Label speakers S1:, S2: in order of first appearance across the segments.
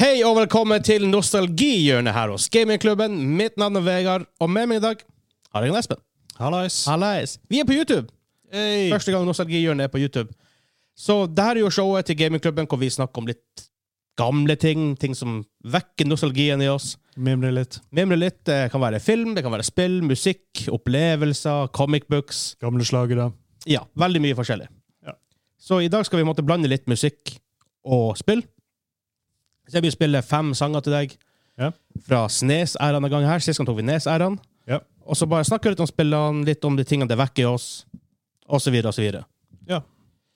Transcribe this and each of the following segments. S1: Hei og velkommen til nostalgihjørnet her hos Gamingklubben. Mitt navn er Vegard, og med meg i dag har jeg en Espen.
S2: Hallais.
S1: Hallais. Vi er på YouTube.
S2: Hey.
S1: Første gang nostalgihjørnet er på YouTube. Så det her er jo showet til Gamingklubben hvor vi snakker om litt gamle ting. Ting som vekker nostalgien i oss.
S2: Mimre litt.
S1: Mimre litt. Det kan være film, det kan være spill, musikk, opplevelser, comic books.
S2: Gamle slagere.
S1: Ja, veldig mye forskjellig.
S2: Ja.
S1: Så i dag skal vi måtte blande litt musikk og spill. Så jeg vil spille fem sanger til deg
S2: Ja.
S1: fra Snes-æraen en gang her. Sist gang tok vi Nes-æraen.
S2: Ja.
S1: Og så bare snakke litt om spillene, litt om de tingene det vekker i oss, og så videre og så videre.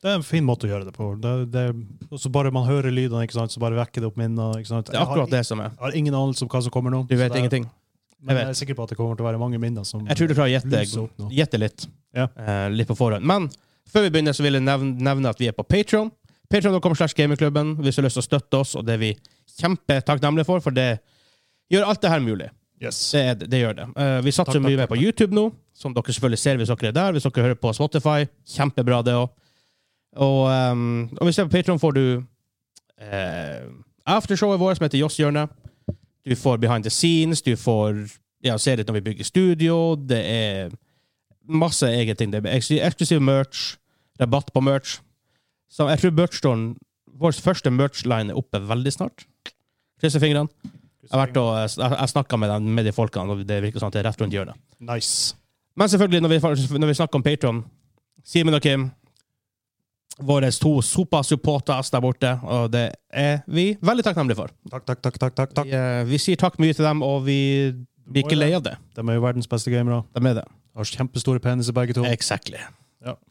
S2: Det er en fin måte å gjøre det på. Det, det, og så bare man hører lydene, ikke sant? så bare vekker det opp minner. Ikke sant?
S1: Det er akkurat det som er.
S2: Jeg har, jeg har ingen anelse om hva som kommer nå.
S1: Du
S2: så
S1: vet
S2: det, er-
S1: ingenting.
S2: Men
S1: vet.
S2: jeg er sikker på at det kommer til å være mange minner som
S1: Jeg tror du klarer å
S2: bluser
S1: gjette,
S2: opp nå.
S1: gjette litt.
S2: Ja.
S1: Eh, litt på forhånd. Men før vi begynner, så vil jeg nevne, nevne at vi er på Patreon. Patreon.com slash gamingklubben hvis du har lyst til å støtte oss, og det er vi kjempetakknemlige for, for det gjør alt det her mulig.
S2: Yes.
S1: Det, er, det gjør det. Eh, vi satser
S2: Takk, takk,
S1: mye mer på YouTube nå, som dere selvfølgelig ser hvis dere er der. Hvis dere hører på Spotify, kjempebra det òg. Og, ehm, og hvis du er på Patreon får du eh, aftershowet vårt som heter Josshjørnet. Du får behind the scenes, du får ja, se litt når vi bygger studio. Det er masse egne ting. Det er eksklu- eksklusiv merch, rabatt på merch. Så jeg tror merchstoren, vår første merchline er oppe veldig snart. Krysser fingrene. Jeg, har vært og, jeg, jeg snakka med, dem- med de folkene, og det virker sånn at det er rett rundt hjørnet.
S2: Nice.
S1: Men selvfølgelig, når vi, når vi snakker om Patron, Simen og Kim, våre to Sopa-supporters der borte, og det er vi veldig takknemlige for.
S2: Takk, takk, takk. takk, takk, takk.
S1: Vi, eh, vi sier takk mye til dem, og vi blir ikke lei av det.
S2: De er jo verdens beste gamere.
S1: De er det.
S2: Har kjempestore peniser begge to.
S1: Exactly.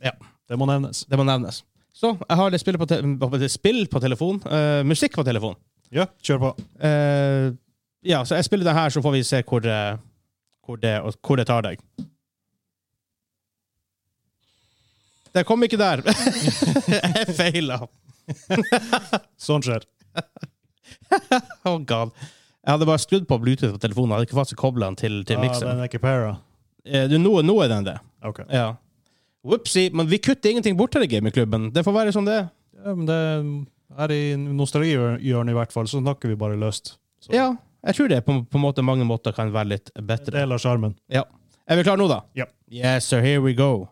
S2: Det må nevnes.
S1: Det må nevnes. Så jeg har det spillet på, te på- spill på telefon. eh, musikk på telefon.
S2: Ja, kjør på.
S1: Eh, ja, så jeg spiller det her, så får vi se hvor, eh, hvor, det, og hvor det tar deg. Det kom ikke der. jeg feila.
S2: Sånn skjer.
S1: Oh god. Jeg hadde bare skrudd på Bluetooth på telefonen. Jeg hadde ikke faktisk kobla den til, til
S2: Ah,
S1: mikseren.
S2: den er ikke para.
S1: Eh, du, nå, nå er den det.
S2: Ok.
S1: Ja. Whoopsie. Men vi kutter ingenting bort her i gamingklubben. Det får være som det er.
S2: Ja, men det er i nostalgihjørnet i hvert fall, så snakker vi bare løst. Så
S1: Ja, jeg tror det på, på en måte, mange måter kan være litt
S2: det er
S1: bedre.
S2: del av sjarmen.
S1: Er vi klare nå, da?
S2: Ja.
S1: Yes, sir. Here we go.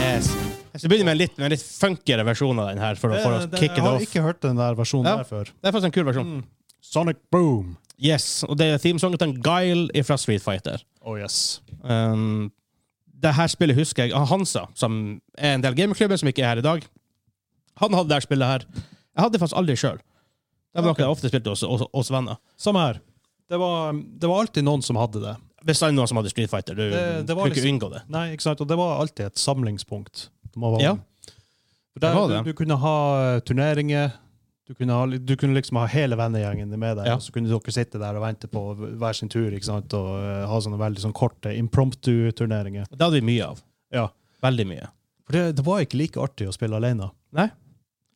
S1: Yes. Jeg skal begynne med en litt, med en litt funkere versjon av den her. for å, for å
S2: Det- det-
S1: kick it
S2: Eh, jeg har
S1: off.
S2: ikke hørt den der versjonen
S1: Ja.
S2: der før. Mm.
S1: Det er faktisk en kul versjon.
S2: Sonic Boom.
S1: Mm. Yes, og det er themesongen til en Guile fra Street Fighter.
S2: Oh yes.
S1: Um, det her spillet husker jeg av Hansa, som er en del gamerklubben som ikke er her i dag. Han hadde det her spillet her. Jeg hadde det faktisk aldri sjøl. Det var
S2: Ok.
S1: noe jeg ofte spilte hos, hos, hos venner.
S2: Samme her. Det var, det var alltid noen som hadde det.
S1: Bestandig noen som hadde Street Fighter. Du
S2: Det- det var
S1: kunne ikke unngå det. liksom-
S2: Nei, ikke sant? Og det var alltid et samlingspunkt. Det må være-
S1: Ja.
S2: For der,
S1: Det var det.
S2: Du, du kunne ha eh, turneringer. Du kunne, ha, li- du kunne liksom ha hele vennegjengen med deg,
S1: Ja.
S2: og så kunne dere sitte der og vente på hver sin tur ikke sant? og eh, ha sånne veldig sånn korte impromptu-turneringer.
S1: Det hadde vi mye av.
S2: Ja.
S1: Veldig mye.
S2: For det, det var ikke like artig å spille alene. Eh,
S1: Nei.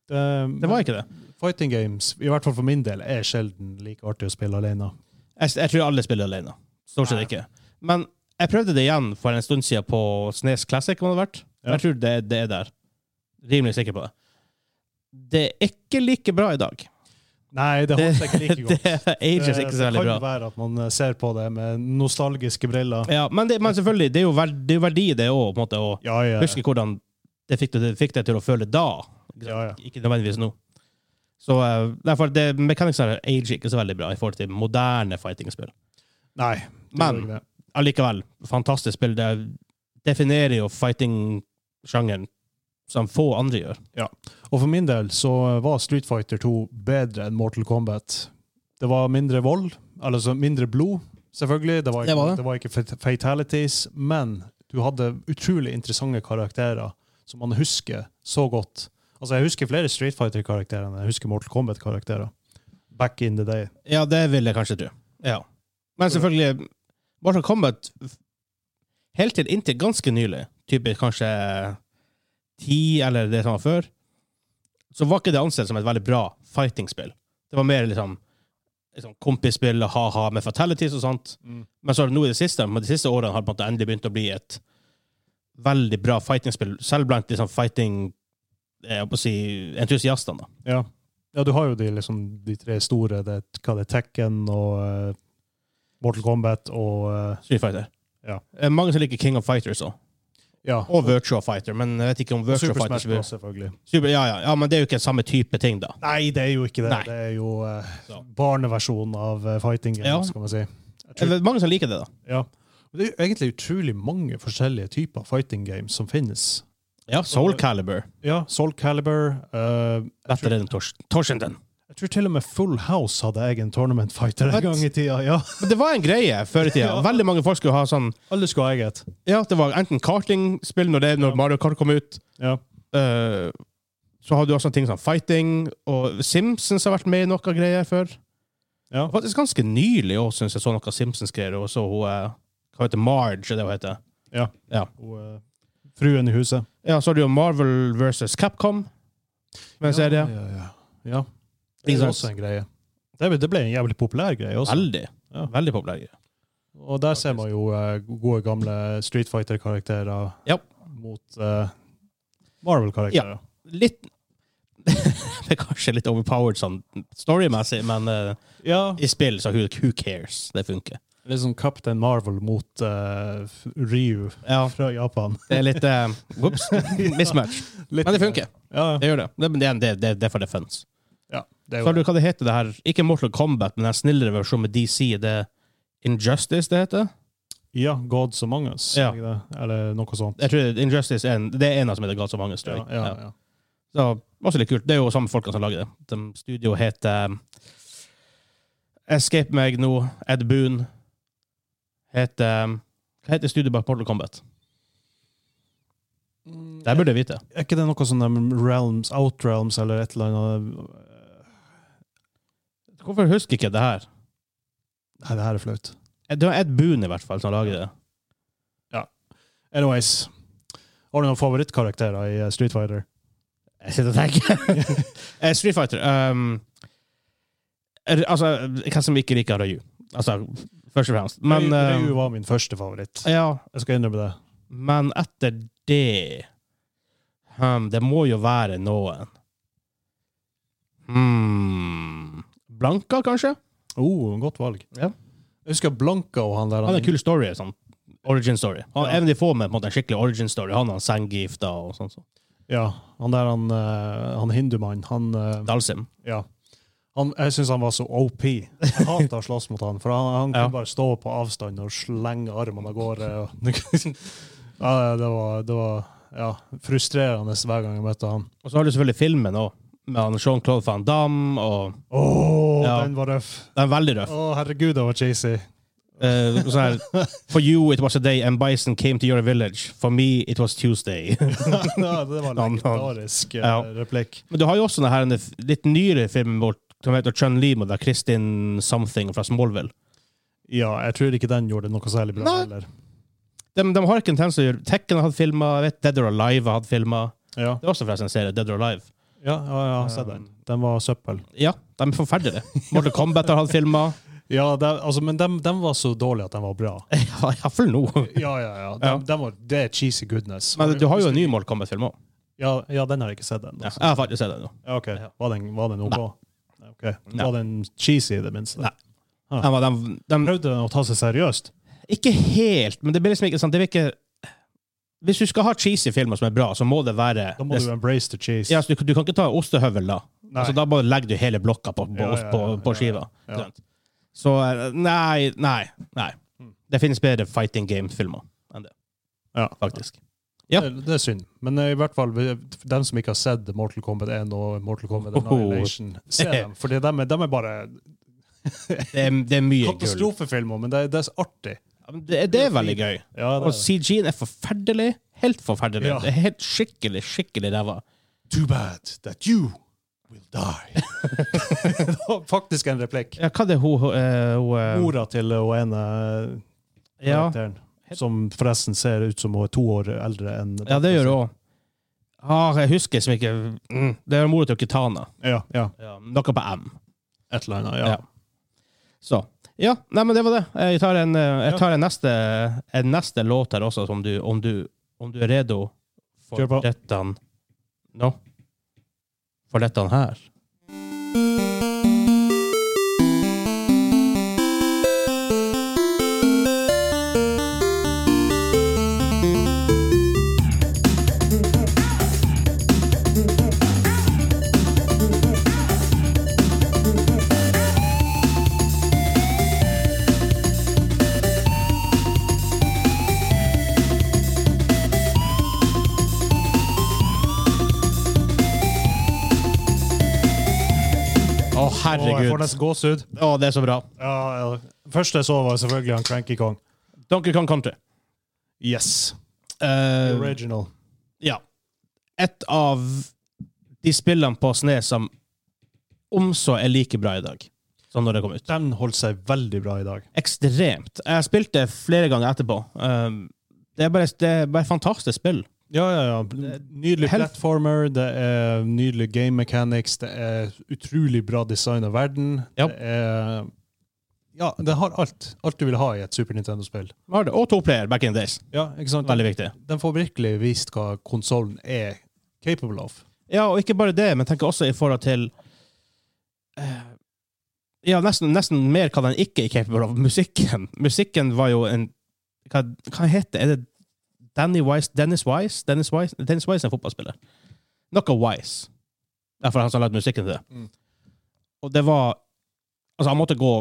S2: Det,
S1: Det var ikke det.
S2: Fighting games, i hvert fall for min del, er sjelden like artig å spille alene.
S1: Jeg, jeg tror alle spiller alene. Stort sett
S2: Nei.
S1: ikke. Men jeg prøvde det igjen for en stund siden på Snes Classic. Må det ha vært.
S2: Ja.
S1: Jeg tror det, det er der. Rimelig sikker på det. Det er ikke like bra i dag.
S2: Nei, det holdt seg ikke like
S1: Det
S2: godt. Eh,
S1: ages ikke så veldig bra.
S2: Det kan jo være at man eh, ser på det med nostalgiske briller.
S1: Ja, men, det, men selvfølgelig, det er jo verdi, det er jo verdi i det òg, på en måte. Å
S2: Ja, ja.
S1: huske hvordan det fikk, det fikk deg til å føle da.
S2: Ja, ja.
S1: Ikke nødvendigvis nå. Så eh, derfor, det Mechanics her ager ikke så veldig bra i forhold til moderne fighting-spill.
S2: Nei. det
S1: Men-
S2: gjorde ikke det.
S1: allikevel, fantastisk spill. Det definerer jo fighting-sjangeren som få andre gjør.
S2: Og for min del så var Street Fighter 2 bedre enn Mortal Kombat. Det var mindre vold, altså mindre blod, selvfølgelig. Det var ikke,
S1: Det var
S2: det var
S1: det.
S2: ikke fat- fatalities, men du hadde utrolig interessante karakterer som man husker så godt. Altså, jeg husker flere Street Fighter-karakterer enn jeg husker Mortal Kombat-karakterer. Back in the day.
S1: Ja, det vil jeg kanskje tro. Ja. Men selvfølgelig, Mortal Kombat Helt til inntil ganske nylig, type kanskje ti eller det som var før, så var ikke det ansett som et veldig bra fighting-spill. Det var mer liksom, liksom kompisspill, ha-ha med fatalities og sånt.
S2: Mm.
S1: Men så har det nå i det siste, men de siste årene har det på en måte endelig begynt å bli et veldig bra fighting-spill, selv blant liksom fighting eh, jeg holdt på å si, entusiastene. da.
S2: Ja. ja, du har jo de, liksom, de tre store. Det, er- hva det er Tekken og eh, Mortal Kombat og eh,
S1: Street Fighter.
S2: Ja.
S1: Eh, Mange som liker King of Fighters òg.
S2: ja.
S1: Og Virtua Fighter, men jeg vet ikke om
S2: Og
S1: Virtua
S2: Super Smash
S1: Fighters
S2: Bros, selvfølgelig.
S1: Super, ja, ja, ja, men det er jo ikke samme type ting, da.
S2: Nei, det er jo ikke det.
S1: Nei.
S2: Det er jo eh,
S1: Så.
S2: barneversjonen av eh, fighting games,
S1: Ja.
S2: skal man si.
S1: Det er Eh, mange som liker det, da.
S2: Ja. Og Det er jo egentlig utrolig mange forskjellige typer fighting games som finnes.
S1: Ja, Soul Caliber.
S2: Ja, Soul Caliber eh, jeg,
S1: Lettere
S2: tror,
S1: enn Tors Torsenden.
S2: jeg tror til og med Full House hadde egen tournament fighter
S1: What?
S2: en gang i tida. Ja.
S1: Men det var en greie før i tida.
S2: Ja.
S1: Veldig mange folk skulle ha sånn
S2: Alle skulle ha eget.
S1: Ja, det var enten kartingspill når, det, når
S2: Ja.
S1: Mario Kart kom ut.
S2: Ja.
S1: eh, så har du også ting som fighting, og Simpsons har vært med i noe greier før.
S2: Ja.
S1: Faktisk ganske nylig òg, syns jeg så noe Simpsons greier. Og så hun eh, Hva heter Marge, er det hun heter?
S2: Og, eh, fruen i huset.
S1: Ja, så har du jo Marvel versus Capcom. Men så er det
S2: Ja, ja, ja. ja. Det er
S1: Ikke sant?
S2: også en greie. Det ble, det ble en jævlig populær greie også.
S1: veldig
S2: Ja.
S1: Veldig populær greie.
S2: Og der ser man jo eh, gode gamle Street Fighter-karakterer
S1: Ja.
S2: mot eh, Marvel-karakterer.
S1: Litt Det er kanskje litt overpowered sånn storymessig, men eh,
S2: Ja.
S1: i spill, så who, who cares? Det funker.
S2: Litt sånn Captain Marvel mot eh, Ryu
S1: Ja,
S2: fra Japan.
S1: det er litt eh, Whoops. Mismatch.
S2: Litt-
S1: Men det funker.
S2: Ja, ja.
S1: Det gjør det. Det, men det, er- det, det, det er for defense.
S2: ja. Det
S1: Så
S2: er
S1: har
S2: jo,
S1: du hva det heter det her Ikke Mortal Kombat, men den snillere versjonen med DC. Det er Injustice det heter?
S2: ja, Gods Among Us,
S1: Ja.
S2: ikke det? eller noe sånt.
S1: Jeg tror Injustice er en, det er en av som heter God som mange
S2: Ja,
S1: tror jeg.
S2: ja,
S1: Ja.
S2: ja.
S1: Så også litt kult. Det er jo samme folkene som lager det. De studio heter um, Escape Meg nå, Ed Boon heter um, Hva heter studio bak Mortal Kombat? Det burde jeg vite.
S2: Er ikke det noe sånn um, Realms, Outrealms eller et eller annet?
S1: Hvorfor husker jeg ikke det her?
S2: Nei, det her er flaut.
S1: Det var Ed Boon i hvert fall som lager det.
S2: Anyways. Har du noen favorittkarakterer i eh, Street Fighter?
S1: Jeg sitter og tenker. Eh, Street Fighter um, er, Altså, hvem som ikke liker Ryu? Altså, først og fremst. Men,
S2: Ryu-
S1: eh,
S2: Ryu var min første favoritt.
S1: ja,
S2: Jeg skal innrømme det.
S1: men etter det hmm, Det må jo være noen. Hmm. Blanka, kanskje?
S2: Oh, godt valg.
S1: Ja.
S2: Jeg husker Blanka og han der.
S1: Han har en kul story. sånn Origin story. Han
S2: Ja.
S1: er en av de få med på en måte, en skikkelig origin story. Han har senggifta og sånn. Så.
S2: Ja, han der han, eh, han hindumannen. Han, eh,
S1: Dalsim.
S2: ja. han, jeg syns han var så OP. Jeg hatet å slåss mot han, for han, han
S1: Ja.
S2: kunne bare stå på avstand og slenge armene av gårde. Og, ja, det var, det var ja, frustrerende hver gang jeg møtte han.
S1: Og så har du selvfølgelig filmen òg, med han Jean-Claude van Damme. Og,
S2: Å,
S1: Ja.
S2: den var røff!
S1: den er veldig røff.
S2: Å, herregud, det var cheesy.
S1: Eh, sånn her, for you it was a day and bison came to your village. For me it was Tuesday.
S2: ja, det var en
S1: Han- han-
S2: legendarisk eh,
S1: Ja.
S2: replikk.
S1: Men du har jo også denne her, en litt nyere filmen vår som heter Chun-Li med der Kristin something fra Smallville.
S2: Ja, jeg tror ikke den gjorde noe særlig bra
S1: Nei.
S2: heller.
S1: De, de har ikke en tendens til å gjøre Tekken har hatt filmer, jeg vet Dead or Alive har hatt filmer.
S2: Ja.
S1: Det er også forresten en serie, Dead or Alive.
S2: Ja, ja, ja, se den. Den var søppel.
S1: Ja, de er forferdelige. Mortal Kombat har hatt filmer.
S2: Ja, det, altså, Men den, den var så dårlig at den var bra.
S1: Ja, Iallfall nå.
S2: Ja, ja, ja. Den,
S1: Ja.
S2: Den var, det er cheesy goodness.
S1: Men du har jo en ny Mortal Kombat-film òg.
S2: Ja, ja, den har jeg ikke sett ennå.
S1: Ja, jeg har faktisk sett den nå.
S2: Ja, ok. Var den, var den OK? Nei, ok.
S1: Nei.
S2: Var den cheesy, i det minste?
S1: Nei. Den var- den- den-
S2: Prøvde den å ta seg seriøst?
S1: Ikke helt, men det blir liksom ikke sånn det blir ikke, Hvis du skal ha cheesy filmer som er bra, så må det være
S2: Da må du embrace the cheese.
S1: Ja, så du, du kan ikke ta ostehøvel da.
S2: Nei.
S1: Altså, da bare legger du hele blokka på, på,
S2: Ja, ja,
S1: ost- på,
S2: ja,
S1: på
S2: ja,
S1: skiva.
S2: ja.
S1: Ikke sant? Så eh, nei, nei, nei.
S2: Mm.
S1: Det finnes bedre fighting game-filmer enn det,
S2: Ja.
S1: faktisk. ja.
S2: Det, det er synd. Men eh, i hvert fall, vi- dem som ikke har sett Mortal Kombat 1 og Mortal Kombat
S1: Oho.
S2: Annihilation, se dem. For dem, er- dem er bare
S1: Det er, det er mye gull.
S2: katastrofefilmer, men det, er- det er så artig.
S1: Ja, men Det, det er veldig gøy.
S2: Ja, det
S1: Og
S2: er det.
S1: CG-en er forferdelig. Helt forferdelig.
S2: Ja.
S1: Det er helt skikkelig, skikkelig ræva.
S2: Too bad that you will die. det var faktisk en replikk.
S1: Ja, hva er det hun, hun, eh, hun eh,
S2: Mora til hun ene eh,
S1: Ja,
S2: karakteren. Som forresten ser ut som hun er to år eldre enn
S1: Ja, det gjør det òg. Ah, jeg husker som ikke mm, Det er mora til Kitana.
S2: Ja, ja.
S1: Noe på M.
S2: Et eller annet.
S1: Ja. Så. Ja, nei, men det var det. Jeg tar en, eh, jeg tar en, neste, en neste låt her også, som du, om, du, om du er redo
S2: Kjør
S1: for
S2: på.
S1: dette Nå. For dette her. Å,
S2: Å, jeg får
S1: herregud.
S2: nesten gåsehud.
S1: Å, det er så bra.
S2: Ja, ja. Første jeg så, var selvfølgelig han Cranky Kong.
S1: Donkey Kong Country.
S2: Yes.
S1: Eh,
S2: Original.
S1: ja. Et av de spillene på Sne som om så er like bra i dag som når det kom ut.
S2: Den holdt seg veldig bra i dag.
S1: Ekstremt. Jeg spilte flere ganger etterpå. Um, det, er bare, det er bare et fantastisk spill.
S2: Ja, ja, ja. Nydelig
S1: Helt-
S2: platformer, det er nydelig game mechanics, det er utrolig bra design av verden.
S1: Ja.
S2: Det er Ja, det har alt. Alt du vil ha i et Super Nintendo-spill.
S1: Har det. Og to player back in the days.
S2: Ja, ikke sant?
S1: Veldig viktig.
S2: Den får virkelig vist hva konsollen er capable of.
S1: Ja, og ikke bare det, men tenker også i forhold til eh, Ja, nesten, nesten mer hva den ikke er capable av. Musikken. Musikken var jo en Hva, hva heter det? Er det Danny Wise? Dennis Wise? Dennis Wise, Dennis Wise er en fotballspiller. Noe Wise. Derfor er han som har lagd musikken til det.
S2: Mm.
S1: Og det var Altså, han måtte gå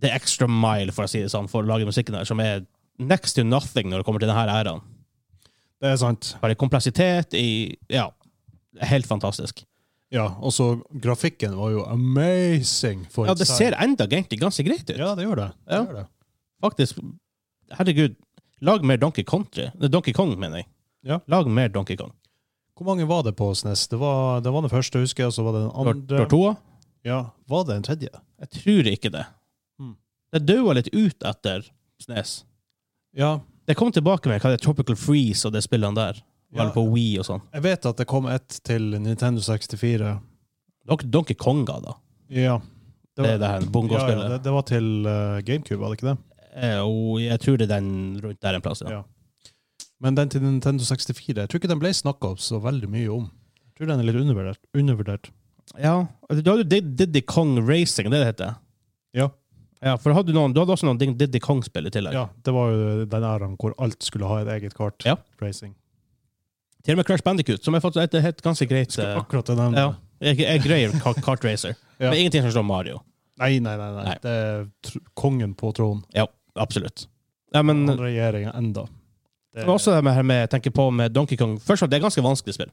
S1: the extra mile, for å si det sånn, for å lage musikken der, som er next to nothing når det kommer til denne æraen.
S2: Det er sant.
S1: Bare kompleksitet i Ja. Helt fantastisk.
S2: Ja, og så grafikken var jo amazing. For
S1: Ja,
S2: et
S1: det
S2: design.
S1: ser enda egentlig ganske greit ut.
S2: Ja, det gjør det. det,
S1: Ja.
S2: gjør det.
S1: Faktisk. Herregud, lag mer Donkey Country. Nei, Donkey Kong, mener jeg.
S2: Ja.
S1: Lag mer Donkey Kong.
S2: Hvor mange var det på SNES? Det var, det var den første, husker jeg, og så var det den
S1: Tor-
S2: andre.
S1: Tortoa?
S2: Ja, Var det en tredje?
S1: Jeg tror ikke det.
S2: Mm.
S1: Det daua litt ut etter Snes.
S2: Ja.
S1: Det kom tilbake med hva det er Tropical Freeze og det spillene der.
S2: Ja.
S1: Vel på Wii og sånn.
S2: Jeg vet at det kom ett til Nintendo 64.
S1: Don- Donkey Konga, da.
S2: Ja.
S1: Det, er det her
S2: ja, ja,
S1: bongospillet.
S2: det, det var til eh, GameCube, var det ikke det?
S1: Eh, og jeg tror det er den rundt der en plass. Ja.
S2: Ja. Men den til Nintendo 64, jeg tror ikke den ble snakka opp så veldig mye om. Jeg tror den er litt undervurdert. undervurdert.
S1: ja. altså, Du hadde jo Did- Diddy Kong Racing, det det heter.
S2: Ja.
S1: Ja, for hadde du, noen, du hadde også noen Did- Diddy Kong-spill i tillegg.
S2: ja, det var jo den æraen hvor alt skulle ha et eget kart.
S1: Ja.
S2: Racing.
S1: Til og med Crash Bandicoot, som er faktisk et, et ganske greit
S2: Skulle
S1: eh,
S2: akkurat nevne
S1: Ja,
S2: det.
S1: jeg, jeg greier ka- kartracer.
S2: Ja.
S1: Men ingenting som slår Mario.
S2: Nei, nei, nei, nei.
S1: Nei.
S2: Det er tr kongen på tronen.
S1: Ja, absolutt. Ja, men
S2: Han regjerer enda. Det
S1: det var også det med, her med jeg tenker på med Donkey Kong Først og fremst, det er ganske vanskelig spill.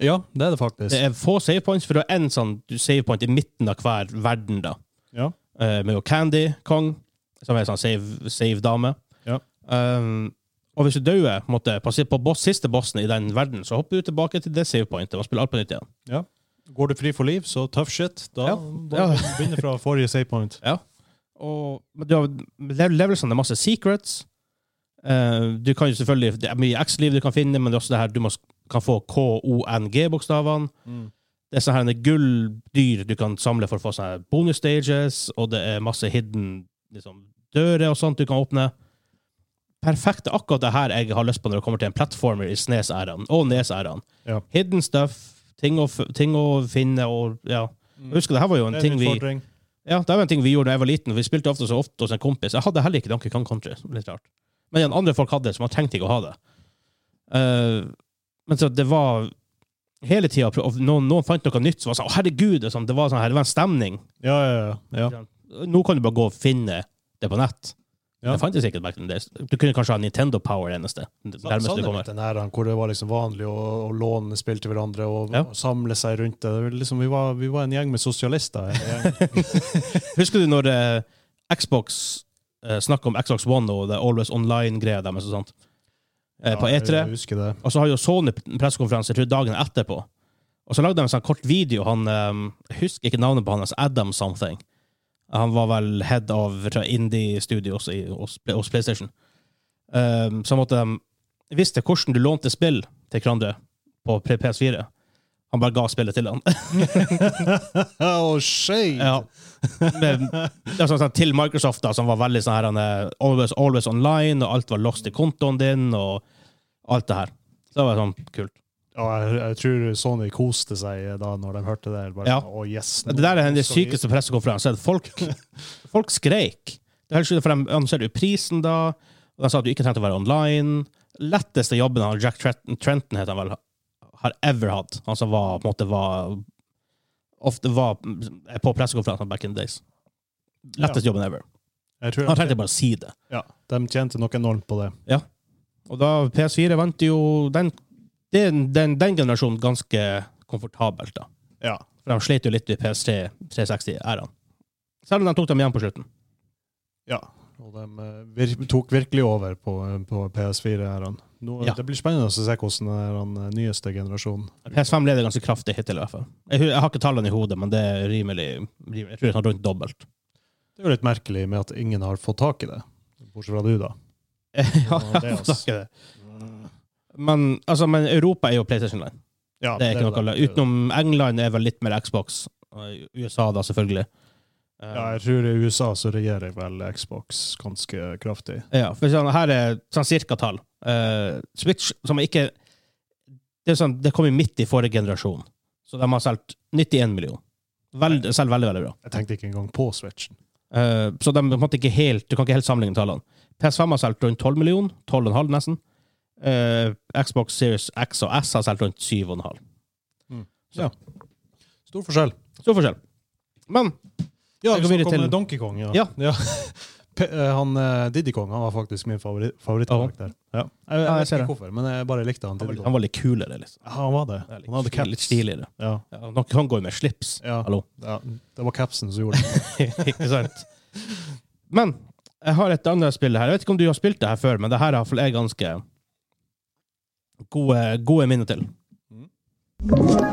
S2: Ja, det er det faktisk.
S1: Det er få save points, for du har én sånn du save point i midten av hver verden, da.
S2: Ja.
S1: Eh, med jo Candy Kong, som er en sånn save- save-dame.
S2: Ja.
S1: Um, og hvis du dør på en måte, på, si- på boss, siste bossen i den verden, så hopper du tilbake til det save pointet og spiller alt på nytt igjen.
S2: Går du fri for liv, så tough shit. Da
S1: Ja.
S2: må
S1: Ja.
S2: du begynne fra forrige save point.
S1: Og men du har lev- levelsene det er masse secrets. Eh, du kan jo selvfølgelig, Det er mye X-liv du kan finne, men det er også det her du må, kan få KONG-bokstavene.
S2: Mm.
S1: Det er sånne her gulldyr du kan samle for å få sånne her bonus stages, og det er masse hidden liksom, dører og sånt du kan åpne. Perfekt. Det er Akkurat det her jeg har lyst på når det kommer til en platformer i Snes-æraen og Nes-æraen.
S2: Ja.
S1: Hidden stuff, ting å, f- ting å finne og ja. Jeg husker det her var jo en
S2: Mm. Det er
S1: ting
S2: en
S1: vi
S2: utfordring.
S1: ja, det var en ting vi gjorde da jeg var liten. for Vi spilte ofte så ofte hos en kompis. Jeg hadde heller ikke Donkey Kong Country. som er Litt rart. Men igjen, andre folk hadde det, så man trengte ikke å ha det. Eh, men så det var hele tida noen, noen fant noe nytt som var sånn Å, herregud! Det, er sånn, det, var sånn her, det var en stemning.
S2: Ja, ja, ja. ja.
S1: Nå kan du bare gå og finne det på nett.
S2: Ja.
S1: Det fantes ikke back in the days. Du kunne kanskje ha Nintendo Power eneste. Nærmest
S2: Sånn
S1: du
S2: er
S1: kommer.
S2: litt den æraen hvor det var liksom vanlig å, å låne spill til hverandre og,
S1: Ja.
S2: og samle seg rundt det. det. var Liksom, vi, var, vi var en gjeng med sosialister. En gjeng.
S1: Husker du når eh, Xbox uh, snakka om Xbox One og det Always Online-greia deres og sånt? Eh, på
S2: Ja,
S1: E3?
S2: Jeg husker det.
S1: Og så har jo Sony pressekonferanse jeg tror, dagen etterpå. Og så lagde de en sånn kort video. Han, ehm, jeg husker ikke navnet på han, altså Adam something. Han var vel head of jeg tror, indie studios i, hos, hos PlayStation. Um, så måtte de visste hvordan du lånte spill til hverandre på P- PS4. Han bare ga spillet til han.
S2: oh, shit!
S1: ja. Men, altså, sånn, til Microsoft, da, som var veldig sånn her han er always, always online, og alt var lost i kontoen din, og alt det her. Så det var sånn kult.
S2: Ja, jeg, jeg tror Sony koste seg da når de hørte det. Bare,
S1: Ja.
S2: «Å, yes, nå
S1: Det der er
S2: er
S1: den
S2: det så vi-
S1: sykeste pressekonferansen. Folk, folk skreik. Det er helt sjukt, for De annonserte jo prisen da, og de sa at du ikke trengte å være online. Letteste jobben han Jack Trenton, Trenton het han vel, har ever hatt. Han som var, på en måte var ofte var er på pressekonferanser back in the days. Letteste jobben ever.
S2: Jeg tror
S1: Han trengte bare å si det.
S2: ja, de tjente nok enormt på det.
S1: Og da PS4 vant jo den, den, den, den generasjonen ganske komfortabelt, da.
S2: Ja.
S1: For de slet jo litt i PS3 360-æraen. Selv om de tok dem igjen på slutten.
S2: ja. Og de eh, vir tok virkelig over på, eh, på PS4-ærene.
S1: Ja.
S2: Det blir spennende å se hvordan den her, den eh, nyeste generasjonen
S1: PS5 leder ganske kraftig hittil, i hvert fall. Jeg, hu- jeg har ikke tallene i hodet, men det er rimelig, rimelig Jeg tror det er sånn rundt dobbelt.
S2: Det er jo litt merkelig med at ingen har fått tak i det. Bortsett fra du, da.
S1: Ja,
S2: Ja, det er
S1: jeg
S2: oss.
S1: snakker det. Men, altså, men Europa er jo PlayStation-land.
S2: Ja,
S1: Det er ikke noe å
S2: det.
S1: le- Utenom England er vel litt mer Xbox. og USA, da, selvfølgelig. Eh,
S2: Ja, jeg tror i USA så regjerer vel Xbox ganske kraftig.
S1: Ja, for sånn, her er sånn cirka-tall. Eh, Switch, som er ikke Det er sånn, det kom jo midt i forrige generasjon, så de har solgt 91 millioner. Veld, selv veldig, veldig bra.
S2: Jeg tenkte ikke engang på Switchen.
S1: Eh, så de, på en måte ikke helt, du kan ikke helt sammenligne tallene. PS5 har solgt rundt 12 millioner, 12,5 nesten. Eh, Xbox Series X og S har solgt rundt 7,5.
S2: Stor forskjell.
S1: Stor forskjell. Men
S2: Ja,
S1: Jeg
S2: vi
S1: går videre
S2: snakket om
S1: til-
S2: Donkey Kong. Ja.
S1: Ja.
S2: P- eh, han eh, Diddy Kong han var faktisk min favori favorittkarakter. Ja. Jeg, jeg,
S1: Ja, jeg
S2: vet
S1: ser
S2: ikke
S1: det.
S2: hvorfor, men jeg bare likte han.
S1: han var
S2: Diddy
S1: litt,
S2: Kong.
S1: han var litt kulere, liksom.
S2: Ja, han var det.
S1: Det er Litt,
S2: Han hadde caps.
S1: litt stiligere.
S2: Ja.
S1: Ja, han kan gå med slips.
S2: Ja.
S1: Hallo.
S2: Ja. Det var capsen som gjorde det.
S1: ikke sant? Men jeg har et annet spill her. Jeg vet ikke om du har spilt det her før, men det her er i hvert fall jeg ganske gode, gode minner til.
S2: Mhm.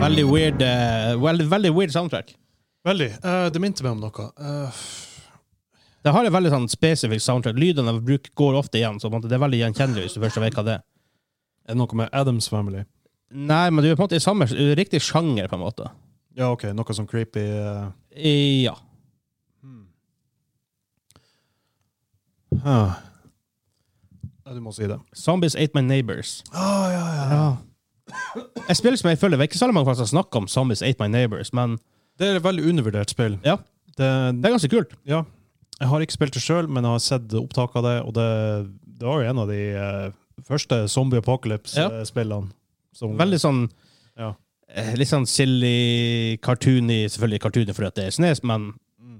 S1: Veldig weird, eh, veldig, veldig weird soundtrack.
S2: Veldig. Eh, det minte meg om noe. Eh,
S1: Det har en veldig sånn spesifikk soundtrack. Lydene de bruker, går ofte igjen, så på en måte det er veldig gjenkjennelig hvis du først vet hva det er.
S2: er det noe med Adams Family?
S1: Nei, men du er på en måte i samme i riktig sjanger, på en måte.
S2: Ja, OK. Noe sånn creepy eh,
S1: I, ja.
S2: ah. Ja, Du må si det.
S1: Zombies Ate My Neighbors.
S2: Ah, ja, ja, ja.
S1: Jeg spiller som jeg følger. Det er ikke så mange folk som snakker om Zombies Ate My Neighbors, men
S2: Det er et veldig undervurdert spill.
S1: Ja.
S2: Det,
S1: det er ganske kult.
S2: ja. Jeg har ikke spilt det sjøl, men jeg har sett opptak av det, og det, det var jo en av de eh, første eh, zombie
S1: Ja.
S2: apocalypse-spillene.
S1: Veldig sånn
S2: Ja.
S1: eh, Litt sånn silly, cartoony Selvfølgelig cartoony fordi at det er snes, men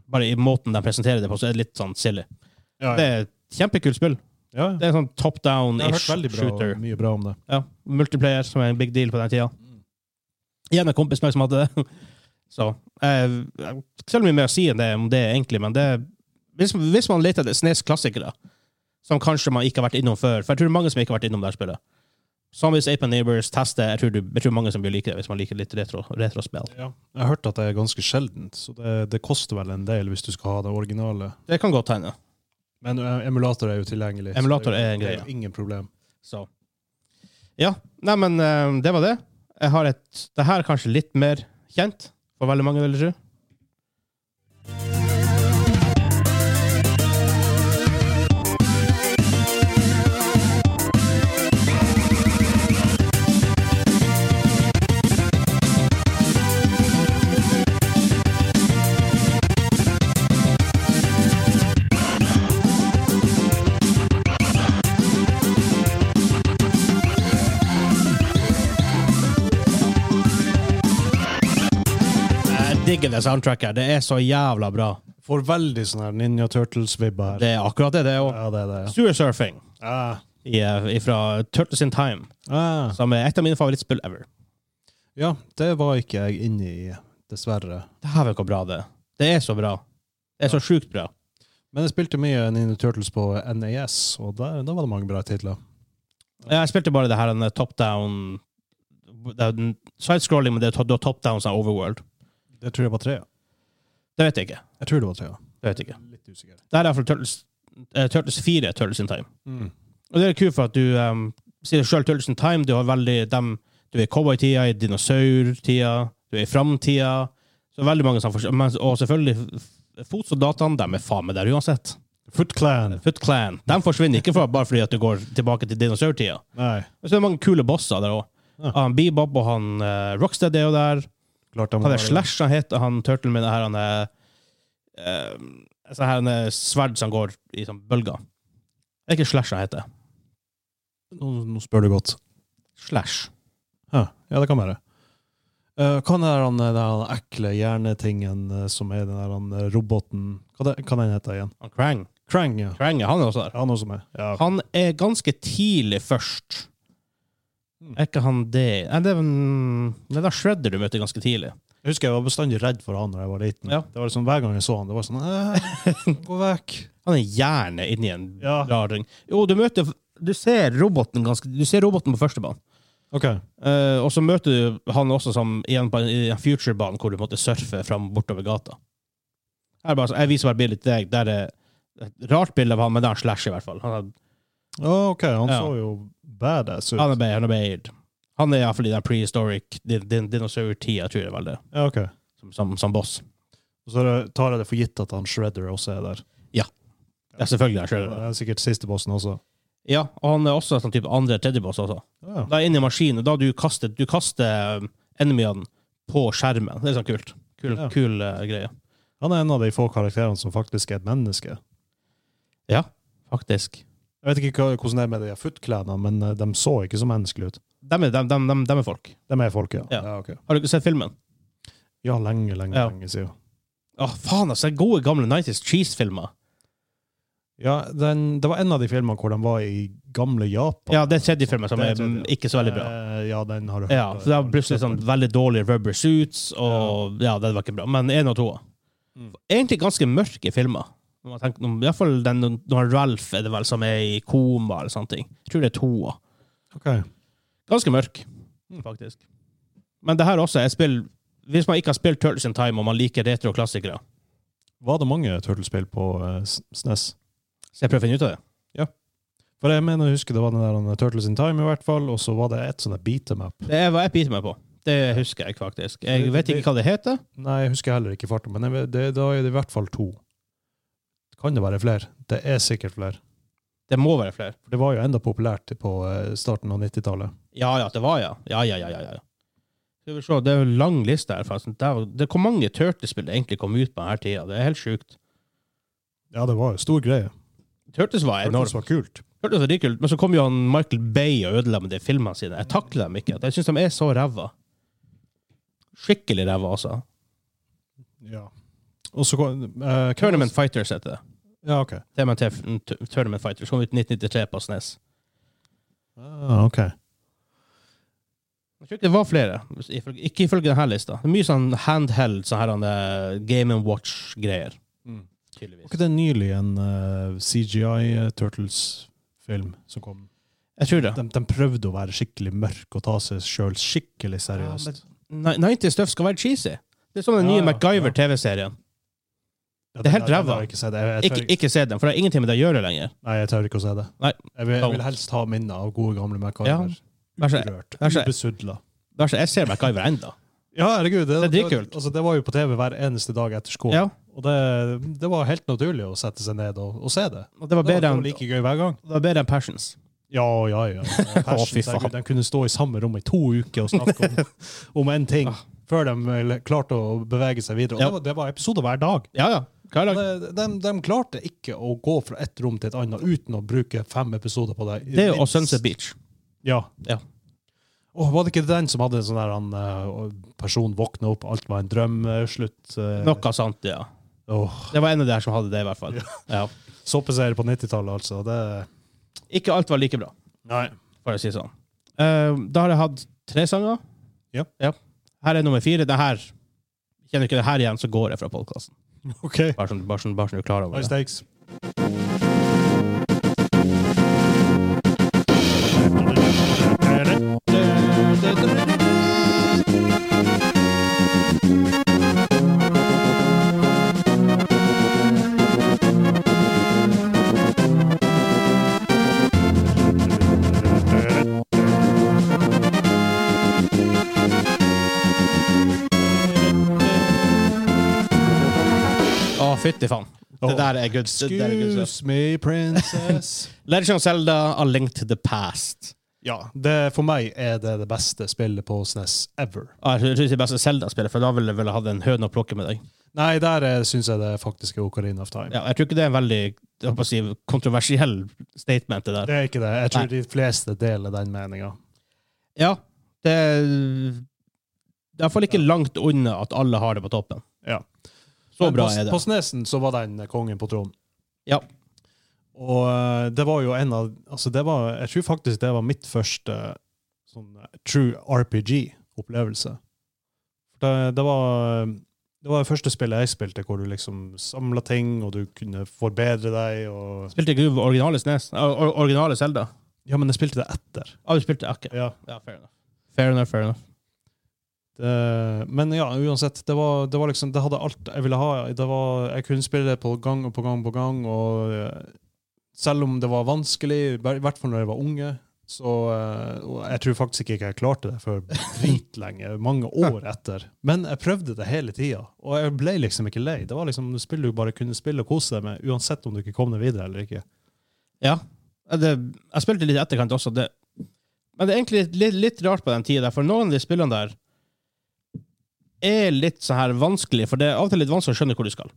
S1: bare i måten de presenterer det på, så er det litt sånn silly.
S2: Mm. ja,
S1: Det er et kjempekult spill.
S2: ja.
S1: Det er sånn top
S2: Jeg har hørt
S1: down-ish
S2: veldig bra,
S1: shooter.
S2: mye bra om det.
S1: Ja, multiplayer, som er en big deal på den tida.
S2: Mm.
S1: Igjen en kompis meg som hadde det. Så eh, Selv om mye mer å si enn det om det, egentlig, men det Hvis, hvis man leter etter SNES-klassikere, som kanskje man ikke har vært innom før For jeg tror mange som ikke har vært innom det her spillet. Zombies, Ape and Neighbors, teste jeg tror, du, jeg tror mange som vil like det, hvis man liker litt retro, retrospill.
S2: Ja. Jeg har hørt at det er ganske sjeldent, så det, det koster vel en del hvis du skal ha det originale.
S1: Det kan godt hende.
S2: Men eh, emulator er jo tilgjengelig. så
S1: Emulator
S2: det jo-
S1: er en
S2: det
S1: greie.
S2: jo Ingen problem.
S1: Så. Ja. Nei, men eh, det var det. Jeg har et Det her er kanskje litt mer kjent for veldig mange, vil jeg tro. Jeg digger det soundtracket. Det er så jævla bra.
S2: Får veldig sånn her Ninja Turtles-vibbe her.
S1: Det er akkurat det. det er også.
S2: Ja, det er det.
S1: Sewer Surfing
S2: Ja.
S1: i, eh, fra Turtles in Time,
S2: Ah.
S1: som er et av mine favorittspill ever.
S2: Ja, det var ikke jeg inne i, dessverre.
S1: Dæven, hvor bra det er. Det er så bra. Det er så sjukt bra.
S2: Men jeg spilte mye Ninja Turtles på NAS, og der, da var det mange bra titler.
S1: Jeg spilte bare det her en top down det er en Sidescrolling, men det er top down som er overworld.
S2: Jeg tror det var tre.
S1: Det vet jeg ikke.
S2: Jeg tror det var tre. ja.
S1: Det vet jeg ikke.
S2: Litt usikker.
S1: Det her er iallfall Turtles, eh, Turtles 4, Turtles in Time.
S2: Mm.
S1: Og det er kult for at du um, sier sjøl Turtles in Time. Du har veldig dem Du er i cowboytida, i dinosaurtida, du er i framtida. Så veldig mange som forskjell- men- Og selvfølgelig, f- fotsoldatene, de er faen meg der uansett.
S2: Foot Clan.
S1: Foot Clan. De forsvinner ikke fra, bare fordi at du går tilbake til dinosaurtida.
S2: Nei,
S1: Men så er det mange kule bosser der òg.
S2: Ja.
S1: Han Bebop og han eh, Rockstead er jo der.
S2: klart de
S1: Han
S2: var-
S1: er Slash, han heter han Turtle med det her han er eh, sånn her han er sverd som går i sånn bølger. Det er ikke Slash han heter.
S2: Nå, nå spør du godt.
S1: Slash.
S2: Ja, ja det kan være. Eh, hva er den der, han- den der han ekle hjernetingen eh, som er den der han, eh, roboten Hva, det, hva den heter igjen?
S1: Han Krang.
S2: Krang, ja.
S1: Krang er han også der.
S2: Ja, noe som er. Ja.
S1: Han er ganske tidlig først. Er ikke han det Nei, det er vel- det er da Shredder du møter ganske tidlig.
S2: Jeg husker jeg var bestandig redd for han da jeg var liten.
S1: Ja.
S2: Det var liksom Hver gang jeg så han, det var sånn «Æ, Gå vekk!
S1: Han er gjerne inni en
S2: Ja.
S1: rar ring. Jo, du møter Du ser roboten ganske Du ser roboten på første banen.
S2: Ok.
S1: Eh, og så møter du han også som igjen på en, i en future-banen, hvor du måtte surfe fram bortover gata. Her er bare, så- jeg viser bare bildet til deg. Der er et rart bilde av han, men det er han Slash, i hvert fall. Han er,
S2: Ja, ok, Han
S1: Ja.
S2: så jo badass ut.
S1: han er, med- han er, med- han er iallfall i den prehistoric din, din, dinosaur-tida, tror jeg det er vel det,
S2: Ja, ok.
S1: som, som, som boss.
S2: Og så er det- tar jeg det for gitt at han Shredder også er der.
S1: Ja, selvfølgelig. Jeg
S2: Det
S1: skjønner det.
S2: er sikkert siste bossen også.
S1: Ja, og han er også en sånn type andre-tredje boss også.
S2: Ja.
S1: Da er jeg inne i maskinen, og da du kaster, du kaster um, enemyene på skjermen. Det er sånn kult. Kul,
S2: Ja.
S1: kul eh, greie.
S2: Han er en av de få karakterene som faktisk er et menneske.
S1: Ja, faktisk.
S2: Jeg vet ikke hva- hvordan det er med de footclanene, men eh, de så ikke så menneskelige ut.
S1: Dem er, dem, dem, dem, dem er folk.
S2: De er folk, ja.
S1: Ja.
S2: ok.
S1: Har du ikke sett filmen?
S2: ja lenge, lenge,
S1: Ja.
S2: lenge siden.
S1: Å, faen, altså. Gode, gamle 90s cheese-filmer.
S2: Ja, den, det var en av de filmene hvor de var i gamle Japan.
S1: Ja, det er tredje filmen som er
S2: Det er tredje,
S1: mm, ikke så veldig bra.
S2: Eh, ja, den har du hørt.
S1: Ja, for det var plutselig sånn veldig dårlige rubber suits, og ja, det var ikke bra. Men én og to.
S2: Mm.
S1: Egentlig ganske mørke filmer. Når man tenker, om- i hvert fall den når Ralph er det vel som er i koma, eller sånne ting. Jeg tror det er toa.
S2: Ok.
S1: Ganske mørk,
S2: Mm.
S1: faktisk. Men det her også er et spill Hvis man ikke har spilt Turtles in Time, og man liker retro-klassikere
S2: Var det mange Turtlespill på eh, S- SNES?
S1: Så jeg prøver å finne ut av det.
S2: For jeg mener, jeg husker det var den der eh, Turtles in Time i hvert fall, og så var det et sånn der beat em up.
S1: Det er hva jeg biter meg på. Det husker jeg faktisk. Jeg vet ikke hva det heter.
S2: Nei, jeg husker heller ikke farten, men jeg, vet- det, da er det i hvert fall to. Kan det være flere? Det er sikkert flere.
S1: Det må være flere.
S2: For det var jo enda populært på eh, starten av 90-tallet.
S1: Ja ja, det var ja. Ja ja ja. ja, ja. Skal vi se, det er jo en lang liste her. forresten. Det er, det er hvor mange Turtles-spill det egentlig kom ut på denne tida. Det er helt sjukt.
S2: Ja, det var jo stor greie.
S1: Turtles var enormt.
S2: Turtles var kult.
S1: Turtles var dritkult, men så kom jo han Michael Bay og ødela med de filmene sine. Jeg takler dem ikke. Jeg syns de er så ræva. Skikkelig ræva, altså.
S2: Ja. Og så kom eh,
S1: Tournament Fighters heter det.
S2: Ja, ok.
S1: TMNT T- Tournament Fighters kom ut 1993 på E SNES.
S2: Ah, ok.
S1: Jeg tror ikke det var flere. Ifølge- Ikke ifølge denne lista. Det er Mye sånn handheld, sånn her han, eh, Game and Watch-greier.
S2: Mm.
S1: tydeligvis.
S2: Var ikke det nylig en eh, CGI-Turtles-film som kom?
S1: Jeg tror det.
S2: De, de prøvde å være skikkelig mørk og ta seg sjøl skikkelig seriøst.
S1: Ni- 90 stuff skal være cheesy. Det er som den
S2: Ja,
S1: nye
S2: ja,
S1: MacGyver-TV-serien.
S2: Ja,
S1: det er helt
S2: den- den
S1: ræva.
S2: har Jeg, ikke sett. jeg, jeg, tør,
S1: Ikke, ikke se den, for det har ingenting med det å gjøre lenger.
S2: Nei, jeg tør ikke å se det.
S1: Nei.
S2: Jeg, vil, jeg
S1: Don't.
S2: vil helst ha minner av gode, gamle
S1: Ja.
S2: MacGyver.
S1: Vær så-
S2: Urørt.
S1: vær så-
S2: Ubesudla.
S1: Det er så- Jeg ser MacGyver ennå.
S2: Ja, herregud. Det,
S1: Det er dritkult.
S2: altså, det var jo på TV hver eneste dag etter skolen.
S1: Ja.
S2: Og det, det var helt naturlig å sette seg ned og, og se det.
S1: Og det var
S2: Det var,
S1: bedre
S2: det
S1: enn
S2: var like gøy hver gang.
S1: det var bedre enn Passions.
S2: Ja, ja, ja. Og
S1: Å, fy
S2: Passions, herregud,
S1: faen.
S2: de kunne stå i samme rom i to uker og snakke om, om en ting
S1: Ah.
S2: før de vel klarte å bevege seg videre. Og
S1: Ja.
S2: det, var, det var episoder hver dag.
S1: Ja, ja. Hva er
S2: Og
S1: det?
S2: det- De, de klarte ikke å gå fra ett rom til et annet uten å bruke fem episoder på det.
S1: Det er jo
S2: Minst.
S1: Sunset Beach.
S2: Ja.
S1: Ja.
S2: Åh, var det ikke den som hadde en sånn der han, eh, person våkna opp, alt var en drøm, eh, slutt eh,
S1: Noe sånt, ja.
S2: åh,
S1: Det var en av de her som hadde det, i hvert fall. Ja.
S2: Såpeseier på 90-tallet, altså. Det
S1: Ikke alt var like bra,
S2: Nei.
S1: for å si det sånn. Eh, da har jeg hatt tre sanger.
S2: Ja.
S1: Her er nummer fire. Det her, kjenner du ikke det her igjen, så går jeg fra podkasten.
S2: OK.
S1: Bare sånn bare sånn- bare sånn du er klar over
S2: High
S1: det.
S2: stakes.
S1: Å, fytti faen. Det der er good. Det der er good stuff.
S2: Excuse me, princess.
S1: Legend of Zelda, A Link to the Past.
S2: ja, det, for meg er det det beste spillet på SNES ever.
S1: Ah, Jeg synes det er best at Zelda spiller, for da ville jeg vel hatt en høne å plukke med deg.
S2: Nei, der syns jeg det faktisk er Ocarina of Time.
S1: Ja, jeg tror ikke det er en veldig jeg håper å si, kontroversiell statement, det der.
S2: Det er ikke det. Jeg tror
S1: Nei.
S2: de fleste deler den meninga.
S1: Ja, det er i hvert fall ikke langt unna at alle har det på toppen.
S2: Ja.
S1: Så
S2: Men
S1: bra
S2: på,
S1: er det.
S2: På Snesen så var den kongen på tronen.
S1: Ja.
S2: Og eh, det var jo en av altså det var, Jeg tror faktisk det var mitt første sånn eh, true RPG-opplevelse. Det, det var det var det første spillet jeg spilte hvor du liksom samla ting, og du kunne forbedre deg. og...
S1: Spilte ikke du originale SNES? Or- or- Originale Zelda?
S2: Ja, men jeg spilte det etter.
S1: Ja, du spilte ikke.
S2: Ja.
S1: Ja, fair enough. Fair enough, fair enough.
S2: Det, Eh, men ja, uansett, det var, det var liksom Det hadde alt jeg ville ha. Det var, jeg kunne spille det på gang og på gang på gang, og eh, selv om det var vanskelig, i hvert fall når jeg var unge, så eh, Og jeg tror faktisk ikke jeg klarte det før dritlenge, mange år etter. Men jeg prøvde det hele tida, og jeg ble liksom ikke lei. Det var liksom et spill du bare kunne spille og kose deg med, uansett om du ikke kom deg videre eller ikke.
S1: Ja. Ja, Det, jeg spilte litt i etterkant også. Det, men det er egentlig litt, litt rart på den tida, der, for noen av de spillene der er litt sånn her vanskelig, for det er av og til litt vanskelig å skjønne hvor du skal.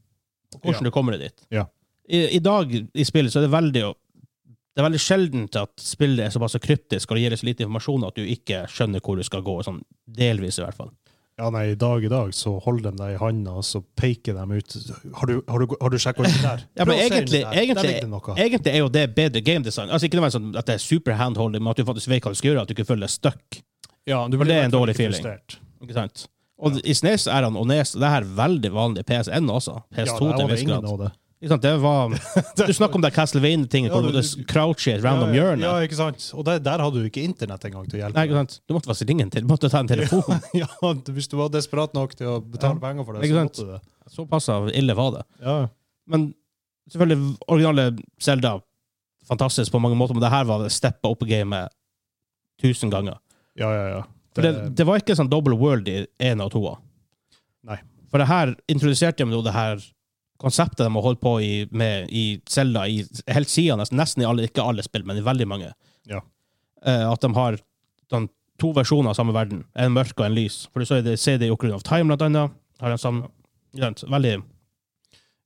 S1: og Hvordan
S2: Ja.
S1: du kommer deg dit.
S2: Ja.
S1: I, I dag i spillet så er det veldig det er veldig sjeldent at spillet er såpass kryptisk og det gir deg så lite informasjon at du ikke skjønner hvor du skal gå. Sånn delvis, i hvert fall.
S2: Ja, nei, i dag i dag så holder de deg i handa, og så peker de ut Har du, har du, har du sjekka ut det der?
S1: Ja, men
S2: Prøv å se under
S1: egentlig-
S2: der.
S1: egentlig-
S2: Der ligger det noe.
S1: Egentlig er jo det bedre gamedesign. Altså, ikke nødvendigvis sånn at det er super handholding, men at du faktisk vet hva du skal gjøre, at du ikke føler deg stuck.
S2: Ja, du
S1: For det er
S2: i
S1: en
S2: hvert fall
S1: dårlig
S2: ikke
S1: feeling.
S2: frustrert.
S1: Ikke sant? Og i SNES er han og NES, det her er veldig vanlig PS1 også.
S2: Ja,
S1: PS2
S2: der
S1: til
S2: var
S1: en
S2: det
S1: viss
S2: ingen
S1: grad.
S2: av det.
S1: Ikke sant? Det var, du snakker om det Castlevania-tinget,
S2: Ja,
S1: hvor
S2: du-
S1: du måtte crouche i et random
S2: Ja, ja,
S1: hjørne.
S2: Ja, ikke sant? Og der, der hadde du ikke internett engang til å hjelpe.
S1: Nei, ikke sant? Du måtte faktisk ringe en til, du måtte ta en telefon.
S2: deg. ja, Hvis du var desperat nok til å betale penger for det,
S1: Ikke
S2: så
S1: sant?
S2: måtte du det.
S1: Såpass av ille var det.
S2: Ja.
S1: Men selvfølgelig, originale Zelda, fantastisk på mange måter, men det her var steppa opp gamet tusen ganger.
S2: ja, ja, ja.
S1: For det, det var ikke sånn double world i én og toa.
S2: Nei.
S1: For det her introduserte de jo det her konseptet de har holdt på i, med, i Zelda i helt siden, nesten, nesten i alle, ikke alle spill, men i veldig mange.
S2: Ja.
S1: Eh, at de har sånn, to versjoner av samme verden. En mørk og en lys. For du så er det CD i Ocarina of Time, blant annet. Har de samme, ja. Veldig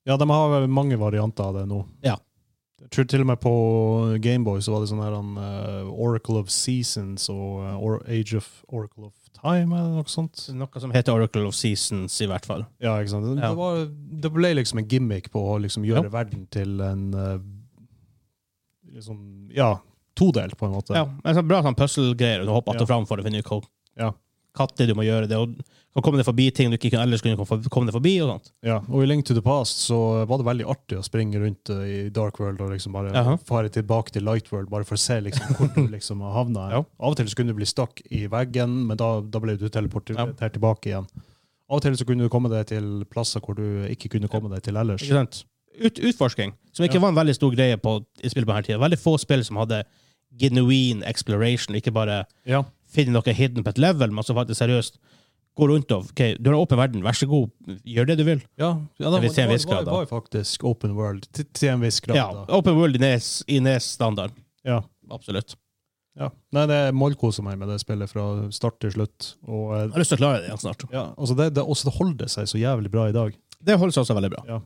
S2: ja, de har vel mange varianter av det nå.
S1: Ja.
S2: Jeg tror til og med på Gameboy så var det sånn her han, eh, Oracle of Seasons og eh, or Age of Oracle of Time eller noe sånt.
S1: Noe som heter Oracle of Seasons, i hvert fall.
S2: Ja, ikke sant? Det,
S1: Ja.
S2: var, det ble liksom en gimmick på å liksom gjøre
S1: Ja.
S2: verden til en eh, liksom, Ja, todelt, på en måte.
S1: Ja, men sånn bra sånn puzzle-greier. Du hopper att og
S2: Ja.
S1: fram for å finne ut hva
S2: Ja.
S1: katter du må gjøre det, og og komme deg forbi ting du ikke kunne- ellers kunne komme- komme deg forbi. og sånt.
S2: Ja, og i Link to the Past så var det veldig artig å springe rundt eh, i Dark World og liksom bare
S1: Jaha.
S2: fare tilbake til Light World, bare for å se liksom hvor du liksom har havna.
S1: Ja.
S2: Av og til så kunne du bli stakk i veggen, men da, da ble du teleportert tilbake igjen. Av og til så kunne du komme deg til plasser hvor du ikke kunne komme deg til ellers.
S1: Ikke sant? Ut, utforsking, som ikke
S2: Ja.
S1: var en veldig stor greie på, i spill på denne tida. Veldig få spill som hadde genuine exploration, ikke bare
S2: Ja,
S1: finne noe hidden på et level, men som faktisk seriøst går rundt og ok, Du har en åpen verden, vær så god, gjør det du vil.
S2: ja, ja det, var,
S1: Til
S2: det,
S1: en
S2: var,
S1: viss grad,
S2: det var jo faktisk open world til, til en viss grad.
S1: Ja,
S2: da.
S1: Open world i Nes- i Nes-standard.
S2: Ja.
S1: Absolutt.
S2: Ja. Nei, det mollkoser meg med det spillet fra start til slutt. Og,
S1: Jeg
S2: eh,
S1: har lyst til å klare det igjen snart.
S2: ja, altså det, det, også det holder seg så jævlig bra i dag.
S1: Det holder seg også veldig bra.
S2: Ja.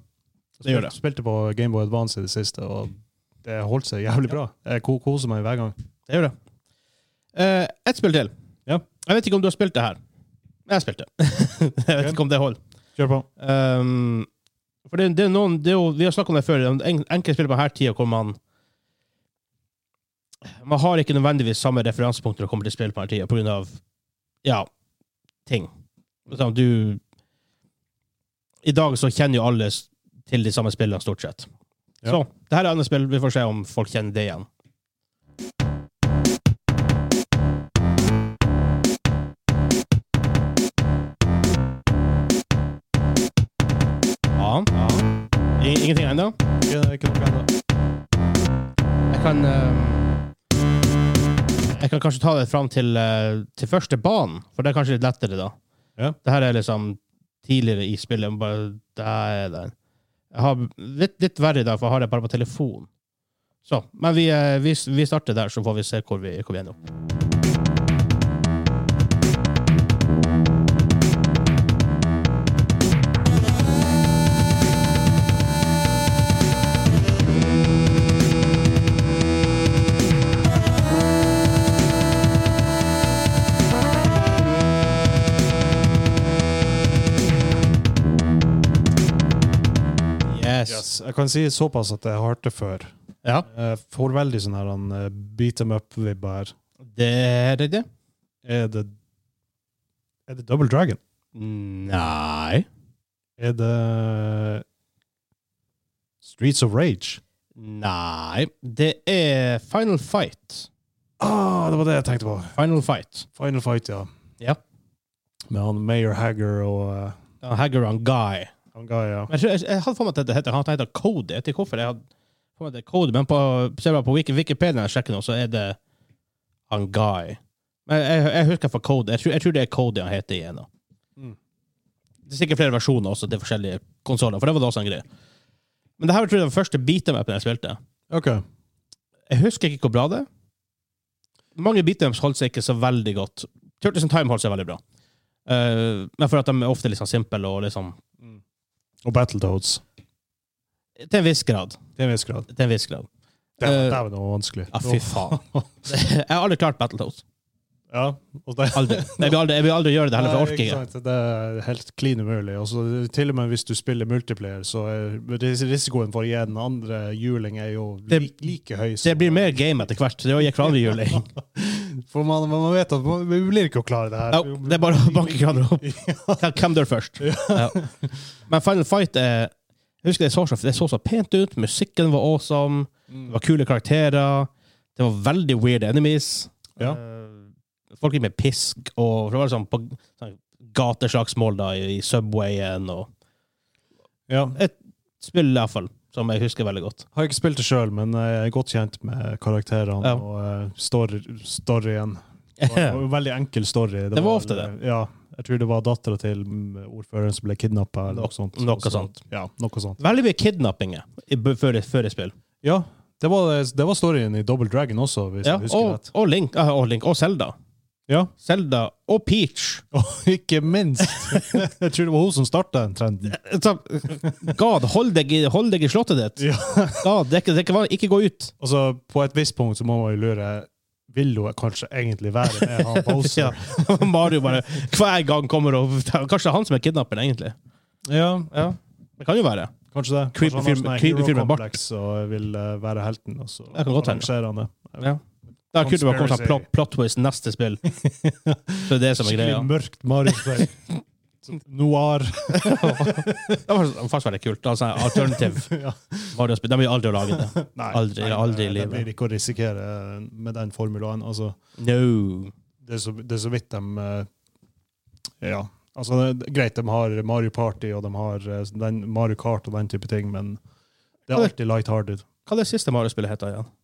S1: Det gjør det.
S2: Spilte på Gameboy Advance i det siste, og det holdt seg jævlig bra. Jeg ko- koser meg hver gang.
S1: Det gjør det. Eh, Ett spill til.
S2: Ja.
S1: Jeg vet ikke om du har spilt det her. Jeg har spilt det. jeg vet
S2: Ok.
S1: ikke om det holder.
S2: Kjør på.
S1: Um, for det, det er noen det er jo, Vi har snakket om det før. det er en- Enkelte spill på denne tida hvor man Man har ikke nødvendigvis samme referansepunkt når det kommer til spill på denne tida, pga. ja, ting. Sånn, Du I dag så kjenner jo alle s- til de samme spillene, stort sett.
S2: Ja.
S1: Så det her er andre spill. Vi får se om folk kjenner det igjen. Ja. ja. I- Ingenting ennå?
S2: Ikke, ikke noe ennå.
S1: Jeg kan eh, Jeg kan kanskje ta det fram til, eh, til første banen, for det er kanskje litt lettere da.
S2: Ja.
S1: Det her er liksom tidligere i spillet. men Bare, der er den. Jeg har litt, litt verre i dag, for jeg har det bare på telefon. Så, men vi, eh, vi, vi starter der, så får vi se hvor vi, hvor vi ender opp. Yes.
S2: Yes. Jeg kan si såpass at jeg har hørt det før.
S1: Ja,
S2: Jeg får veldig sånn her han, eh, beat them up-vibba her.
S1: det er det.
S2: Er det Er det Double Dragon?
S1: Nei.
S2: Er det Streets of Rage?
S1: Nei. Det er Final Fight.
S2: Ah, det var det jeg tenkte på.
S1: Final Fight.
S2: Final Fight, ja.
S1: Ja.
S2: Med han Mayor Hagger og eh,
S1: Haggeron Guy.
S2: han guy, ja.
S1: Men Jeg, tror- jeg, jeg hadde for meg at det heter, han heter Code. Jeg vet ikke hvorfor jeg hadde for meg at det er Code, men på, ser jeg på Wiki- Wikipedia når jeg sjekker nå, så er det han Guy. Men jeg, jeg husker for Code. Jeg tror, jeg tror det er Code han heter igjen. nå.
S2: Mm.
S1: Det er sikkert flere versjoner også til forskjellige konsoller, for det var da også en greie. Men det her tror jeg var første beat-em-upen jeg spilte.
S2: OK.
S1: Jeg husker ikke hvor bra det er. Mange beat-em-ups holdt seg ikke så veldig godt. Turtles in Time holdt seg veldig bra. Eh, men for at de er ofte liksom simple og liksom
S2: Og Battletoads.
S1: Til en viss grad.
S2: Til en viss grad.
S1: Til en viss grad.
S2: Det
S1: Eh,
S2: var noe vanskelig.
S1: Ja, fy faen. Jeg har aldri klart Battletoads.
S2: Ja, og det,
S1: Aldri. Jeg vil aldri, jeg vil aldri gjøre det heller, for jeg orker
S2: Nei,
S1: ikke.
S2: ikke sant. Det er helt klin umulig. Altså, til og med hvis du spiller multiplayer, så er ris- risikoen for å gi den andre juling er jo
S1: Det-
S2: like, like høy.
S1: Så Det blir mer game etter hvert. Det gikk fra andre juling.
S2: For man, man vet at man, vi blir ikke å klare det
S1: Ja,
S2: her.
S1: det er bare å banke hverandre opp.
S2: Ja.
S1: Hvem dør først? Ja. Men Final Fight er jeg husker det så, så, det så så pent ut. Musikken var awesome. Det var kule karakterer. Det var veldig weird enemies.
S2: Ja.
S1: Eh, Folk gikk med pisk og for det var sånn på sånn gateslagsmål da, i i Subwayen og
S2: Ja.
S1: spill, iallfall, som jeg husker veldig godt.
S2: Har ikke spilt det sjøl, men jeg er godt kjent med karakterene
S1: Ja.
S2: og eh, story, storyen. Det var det var en veldig enkel story.
S1: Det var ofte det.
S2: Ja, jeg tror det var dattera til mm, ordføreren som ble kidnappa, eller noe sånt.
S1: Noe
S2: Og så-
S1: sånt.
S2: Ja, noe sånt.
S1: Veldig mye kidnappinger i- b- før, før i spill.
S2: Ja, det var, det var storyen i Double Dragon også, hvis
S1: Ja,
S2: jeg husker
S1: og,
S2: rett.
S1: og Link. ah, Og Link. Og Zelda.
S2: Ja,
S1: Zelda og Peach.
S2: og ikke minst. jeg tror det var hun som starta den trenden.
S1: Så, God, hold deg, i- hold deg i slottet ditt!
S2: Ja.
S1: God, det er ikke, det er ikke, van- ikke gå ut!
S2: Altså, på et visst punkt så må man jo lure Vil hun kanskje egentlig være med han
S1: Ja.
S2: Bowser?
S1: Mario bare hver gang kommer og Kanskje det er han som er kidnapperen, egentlig.
S2: ja,
S1: Det kan jo være.
S2: kanskje det.
S1: Creepy
S2: Kanskje han
S1: fyr-
S2: har sånn her
S1: creepy
S2: hero
S1: fyr med bart.
S2: complex Og vil eh, være helten, og så
S1: Det kan godt hende.
S2: arrangerer han det.
S1: Det er kult å komme til
S2: Conspiracy.
S1: plot, plot twist neste spill. Så det er det som er
S2: Skikkelig
S1: greia.
S2: mørkt Mario-spill. Noir.
S1: Det var faktisk veldig kult. Altså, alternative
S2: Ja.
S1: Mario-spill. De vil aldri lage det.
S2: Nei,
S1: Aldri- aldri i
S2: det
S1: livet.
S2: blir ikke å risikere eh, med den formulaen. Altså,
S1: No.
S2: det er så, det er så vidt de eh, Ja. Altså, det er greit, de har Mario Party og de har eh, den, Mario Kart og den type ting, men det
S1: Hm.
S2: er alltid lighthearted.
S1: Hva er det siste Mario-spillet heter igjen?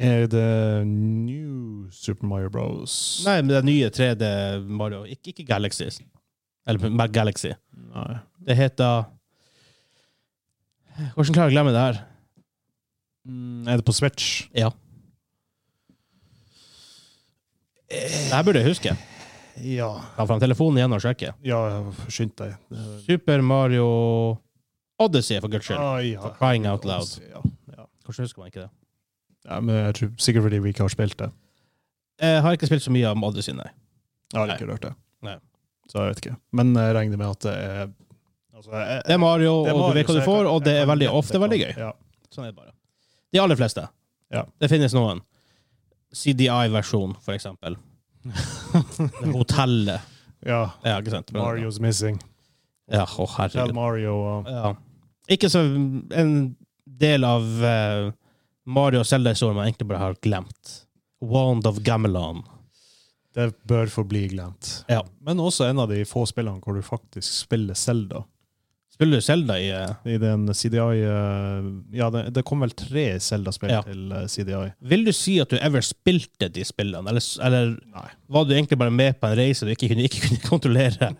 S2: Er det New Super Mario Bros?
S1: Nei, men det nye 3D Mario. Ikke, ikke Galaxies. Eller Mac Galaxy.
S2: Nei.
S1: Det heter Hvordan klarer jeg å glemme det her?
S2: Mm, Er det på Switch?
S1: Ja. Det her burde jeg huske.
S2: Ja.
S1: Ta fram telefonen igjen og sjekke.
S2: Ja, skynd deg. Det-
S1: Super Mario Odyssey, for guds skyld.
S2: Ah, ja.
S1: For crying out loud.
S2: Ja, ja.
S1: Hvordan husker man ikke det?
S2: ja men jeg tror sikkert fordi vi ikke har spilt det.
S1: Jeg har ikke spilt så mye om Odyssey, nei.
S2: Jeg har
S1: Nei.
S2: ikke rørt det.
S1: Nei.
S2: Så jeg vet ikke. Men jeg regner med at det er altså, jeg-
S1: Det er Mario,
S2: det er
S1: og
S2: Mario,
S1: du vet
S2: så
S1: hva du
S2: jeg
S1: får,
S2: kan-
S1: og det
S2: jeg
S1: er
S2: kan
S1: veldig
S2: gjette
S1: ofte veldig
S2: hva-
S1: gøy.
S2: Ja.
S1: Sånn er det bare. De aller fleste.
S2: Ja.
S1: Det finnes noen. CDI-versjon, for eksempel. Det hotellet.
S2: Ja.
S1: Ja, ikke sant? Men-
S2: Mario's Missing.
S1: Ja, å
S2: Tell
S1: herregud.
S2: Mario og
S1: Ja. Ikke så en del av eh, Mario og Zelda-historien man egentlig bare har glemt. Wand of Gamelon.
S2: Det bør forbli glemt.
S1: Ja.
S2: Men også en av de få spillene hvor du faktisk spiller Zelda.
S1: Spiller du Zelda i eh,
S2: I den CDI eh, Ja, det, det kom vel tre Zelda-spill
S1: Ja.
S2: til eh, CDI.
S1: Vil du si at du ever spilte de spillene, eller, s- eller
S2: Nei.
S1: var du egentlig bare med på en reise du ikke kunne, ikke kunne kontrollere?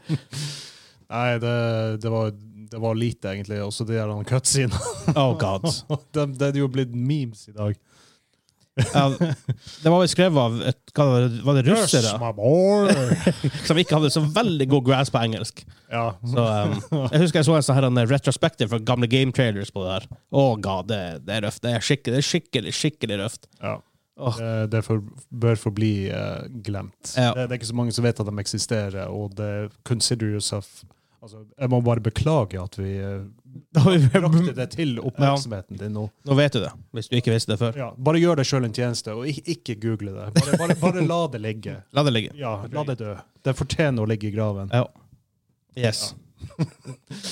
S2: Nei, det, det, var, det var lite, egentlig. Også de der cutscenene.
S1: Oh god.
S2: det, det er jo blitt memes i dag.
S1: Ja, det var vel skrevet av et, hva var det- var det russere
S2: my boy!
S1: som ikke hadde så veldig god grasp på engelsk.
S2: ja.
S1: Så um, Jeg husker jeg så en sånn her en retrospective fra gamle game trailers på det her. Oh god, det, det er røft. Det er skikkelig, det er skikkelig, skikkelig røft.
S2: ja.
S1: Åh.
S2: Det, det for, bør forbli eh, glemt.
S1: Ja.
S2: Det, det er ikke så mange som vet at de eksisterer, og det consider yourself altså, Jeg må bare beklage at vi eh, brakte det til oppmerksomheten din nå.
S1: Nå vet du det, hvis du ikke visste det før.
S2: Ja, bare gjør deg sjøl en tjeneste, og ikke, ikke google det. Bare, bare, bare la det ligge.
S1: La det ligge.
S2: Ja, la det dø. Det fortjener å ligge i graven.
S1: Ja. Yes.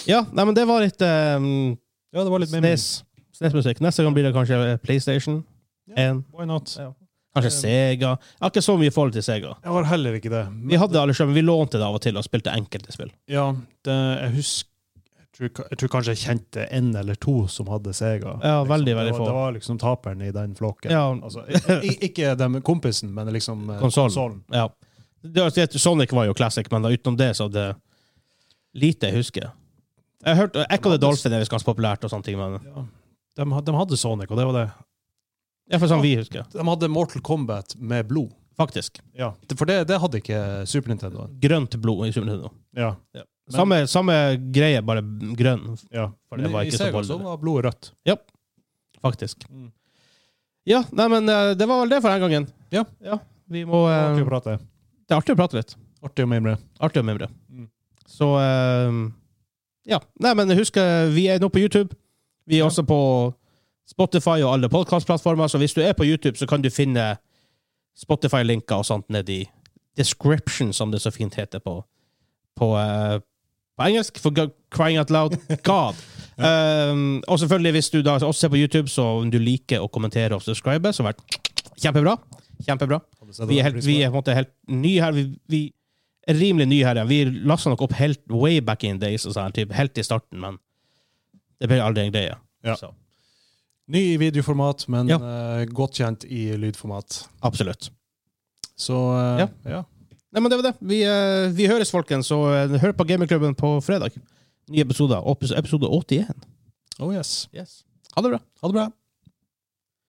S1: Ja, nei, men det var litt um,
S2: Ja, det var litt mer
S1: Snes- SNES-musikk. Neste gang blir det kanskje eh, PlayStation.
S2: Ja.
S1: En.
S2: Why not?
S1: Ja. Kanskje Sega. Jeg har ikke så mye forhold til Sega.
S2: Jeg har heller ikke det. Men-
S1: Vi hadde alle selv, men vi lånte det av og til og spilte enkelte spill.
S2: Ja, det, jeg husker jeg tror, jeg tror kanskje jeg kjente en eller to som hadde Sega.
S1: Ja, veldig,
S2: det
S1: veldig
S2: var-
S1: få.
S2: Det var liksom taperen i den flokken.
S1: Ja.
S2: Altså, i- i- ikke den kompisen, men liksom eh,
S1: Konsolen.
S2: konsolen.
S1: Ja. Det var- det- Sonic var jo classic, men da utenom det så er det lite jeg husker. Jeg har hørt Echo the Dolphin er visst ganske populært, og sånne ting, men
S2: Ja. De, had- de hadde Sonic, og det var det.
S1: iallfall sånn vi husker.
S2: De hadde Mortal Kombat med blod.
S1: Faktisk.
S2: Ja, For det, det hadde ikke Super Nintendo.
S1: Grønt blod i Super Nintendo.
S2: Ja, Men-
S1: Samme, samme greie, bare grønn,
S2: ja.
S1: For det
S2: Men
S1: var
S2: i
S1: ikke så
S2: Sega
S1: voldelig.
S2: så var blodet rødt.
S1: faktisk.
S2: Mm.
S1: Ja, nei, men eh, det var vel det for den gangen.
S2: Ja.
S1: vi må eh,
S2: Artig å prate.
S1: Det er artig å prate litt.
S2: Artig å mimre.
S1: Artig å mimre.
S2: Mm.
S1: Så eh, Ja. Nei, men husk, eh, vi er nå på YouTube. Vi er også på Spotify og alle podkastplattformer, så hvis du er på YouTube, så kan du finne Spotify-linker og sånt nedi description, som det så fint heter på på, eh, på engelsk, for g- crying out loud. God! Um, og selvfølgelig, hvis du da også ser på YouTube, så om du liker å kommentere og subscribe, så vært kjempebra. Kjempebra. Vi er, helt, vi er på en måte helt nye her. Vi, vi er rimelig nye her. ja. Vi lasta nok opp helt way back in days, og sånn, her, typ, helt i starten, men det ble aldri en greie.
S2: Ja.
S1: Så,
S2: Ny i videoformat, men
S1: Ja.
S2: eh, godt kjent i lydformat.
S1: absolutt.
S2: Så eh, ja.
S1: Nei, men det var det. Vi, eh, vi høres, folkens, og eh, hør på Gamingklubben på fredag. Nye episoder. Opus- Episode 81.
S2: Oh yes.
S1: Yes. Ha det bra.
S2: Ha det bra.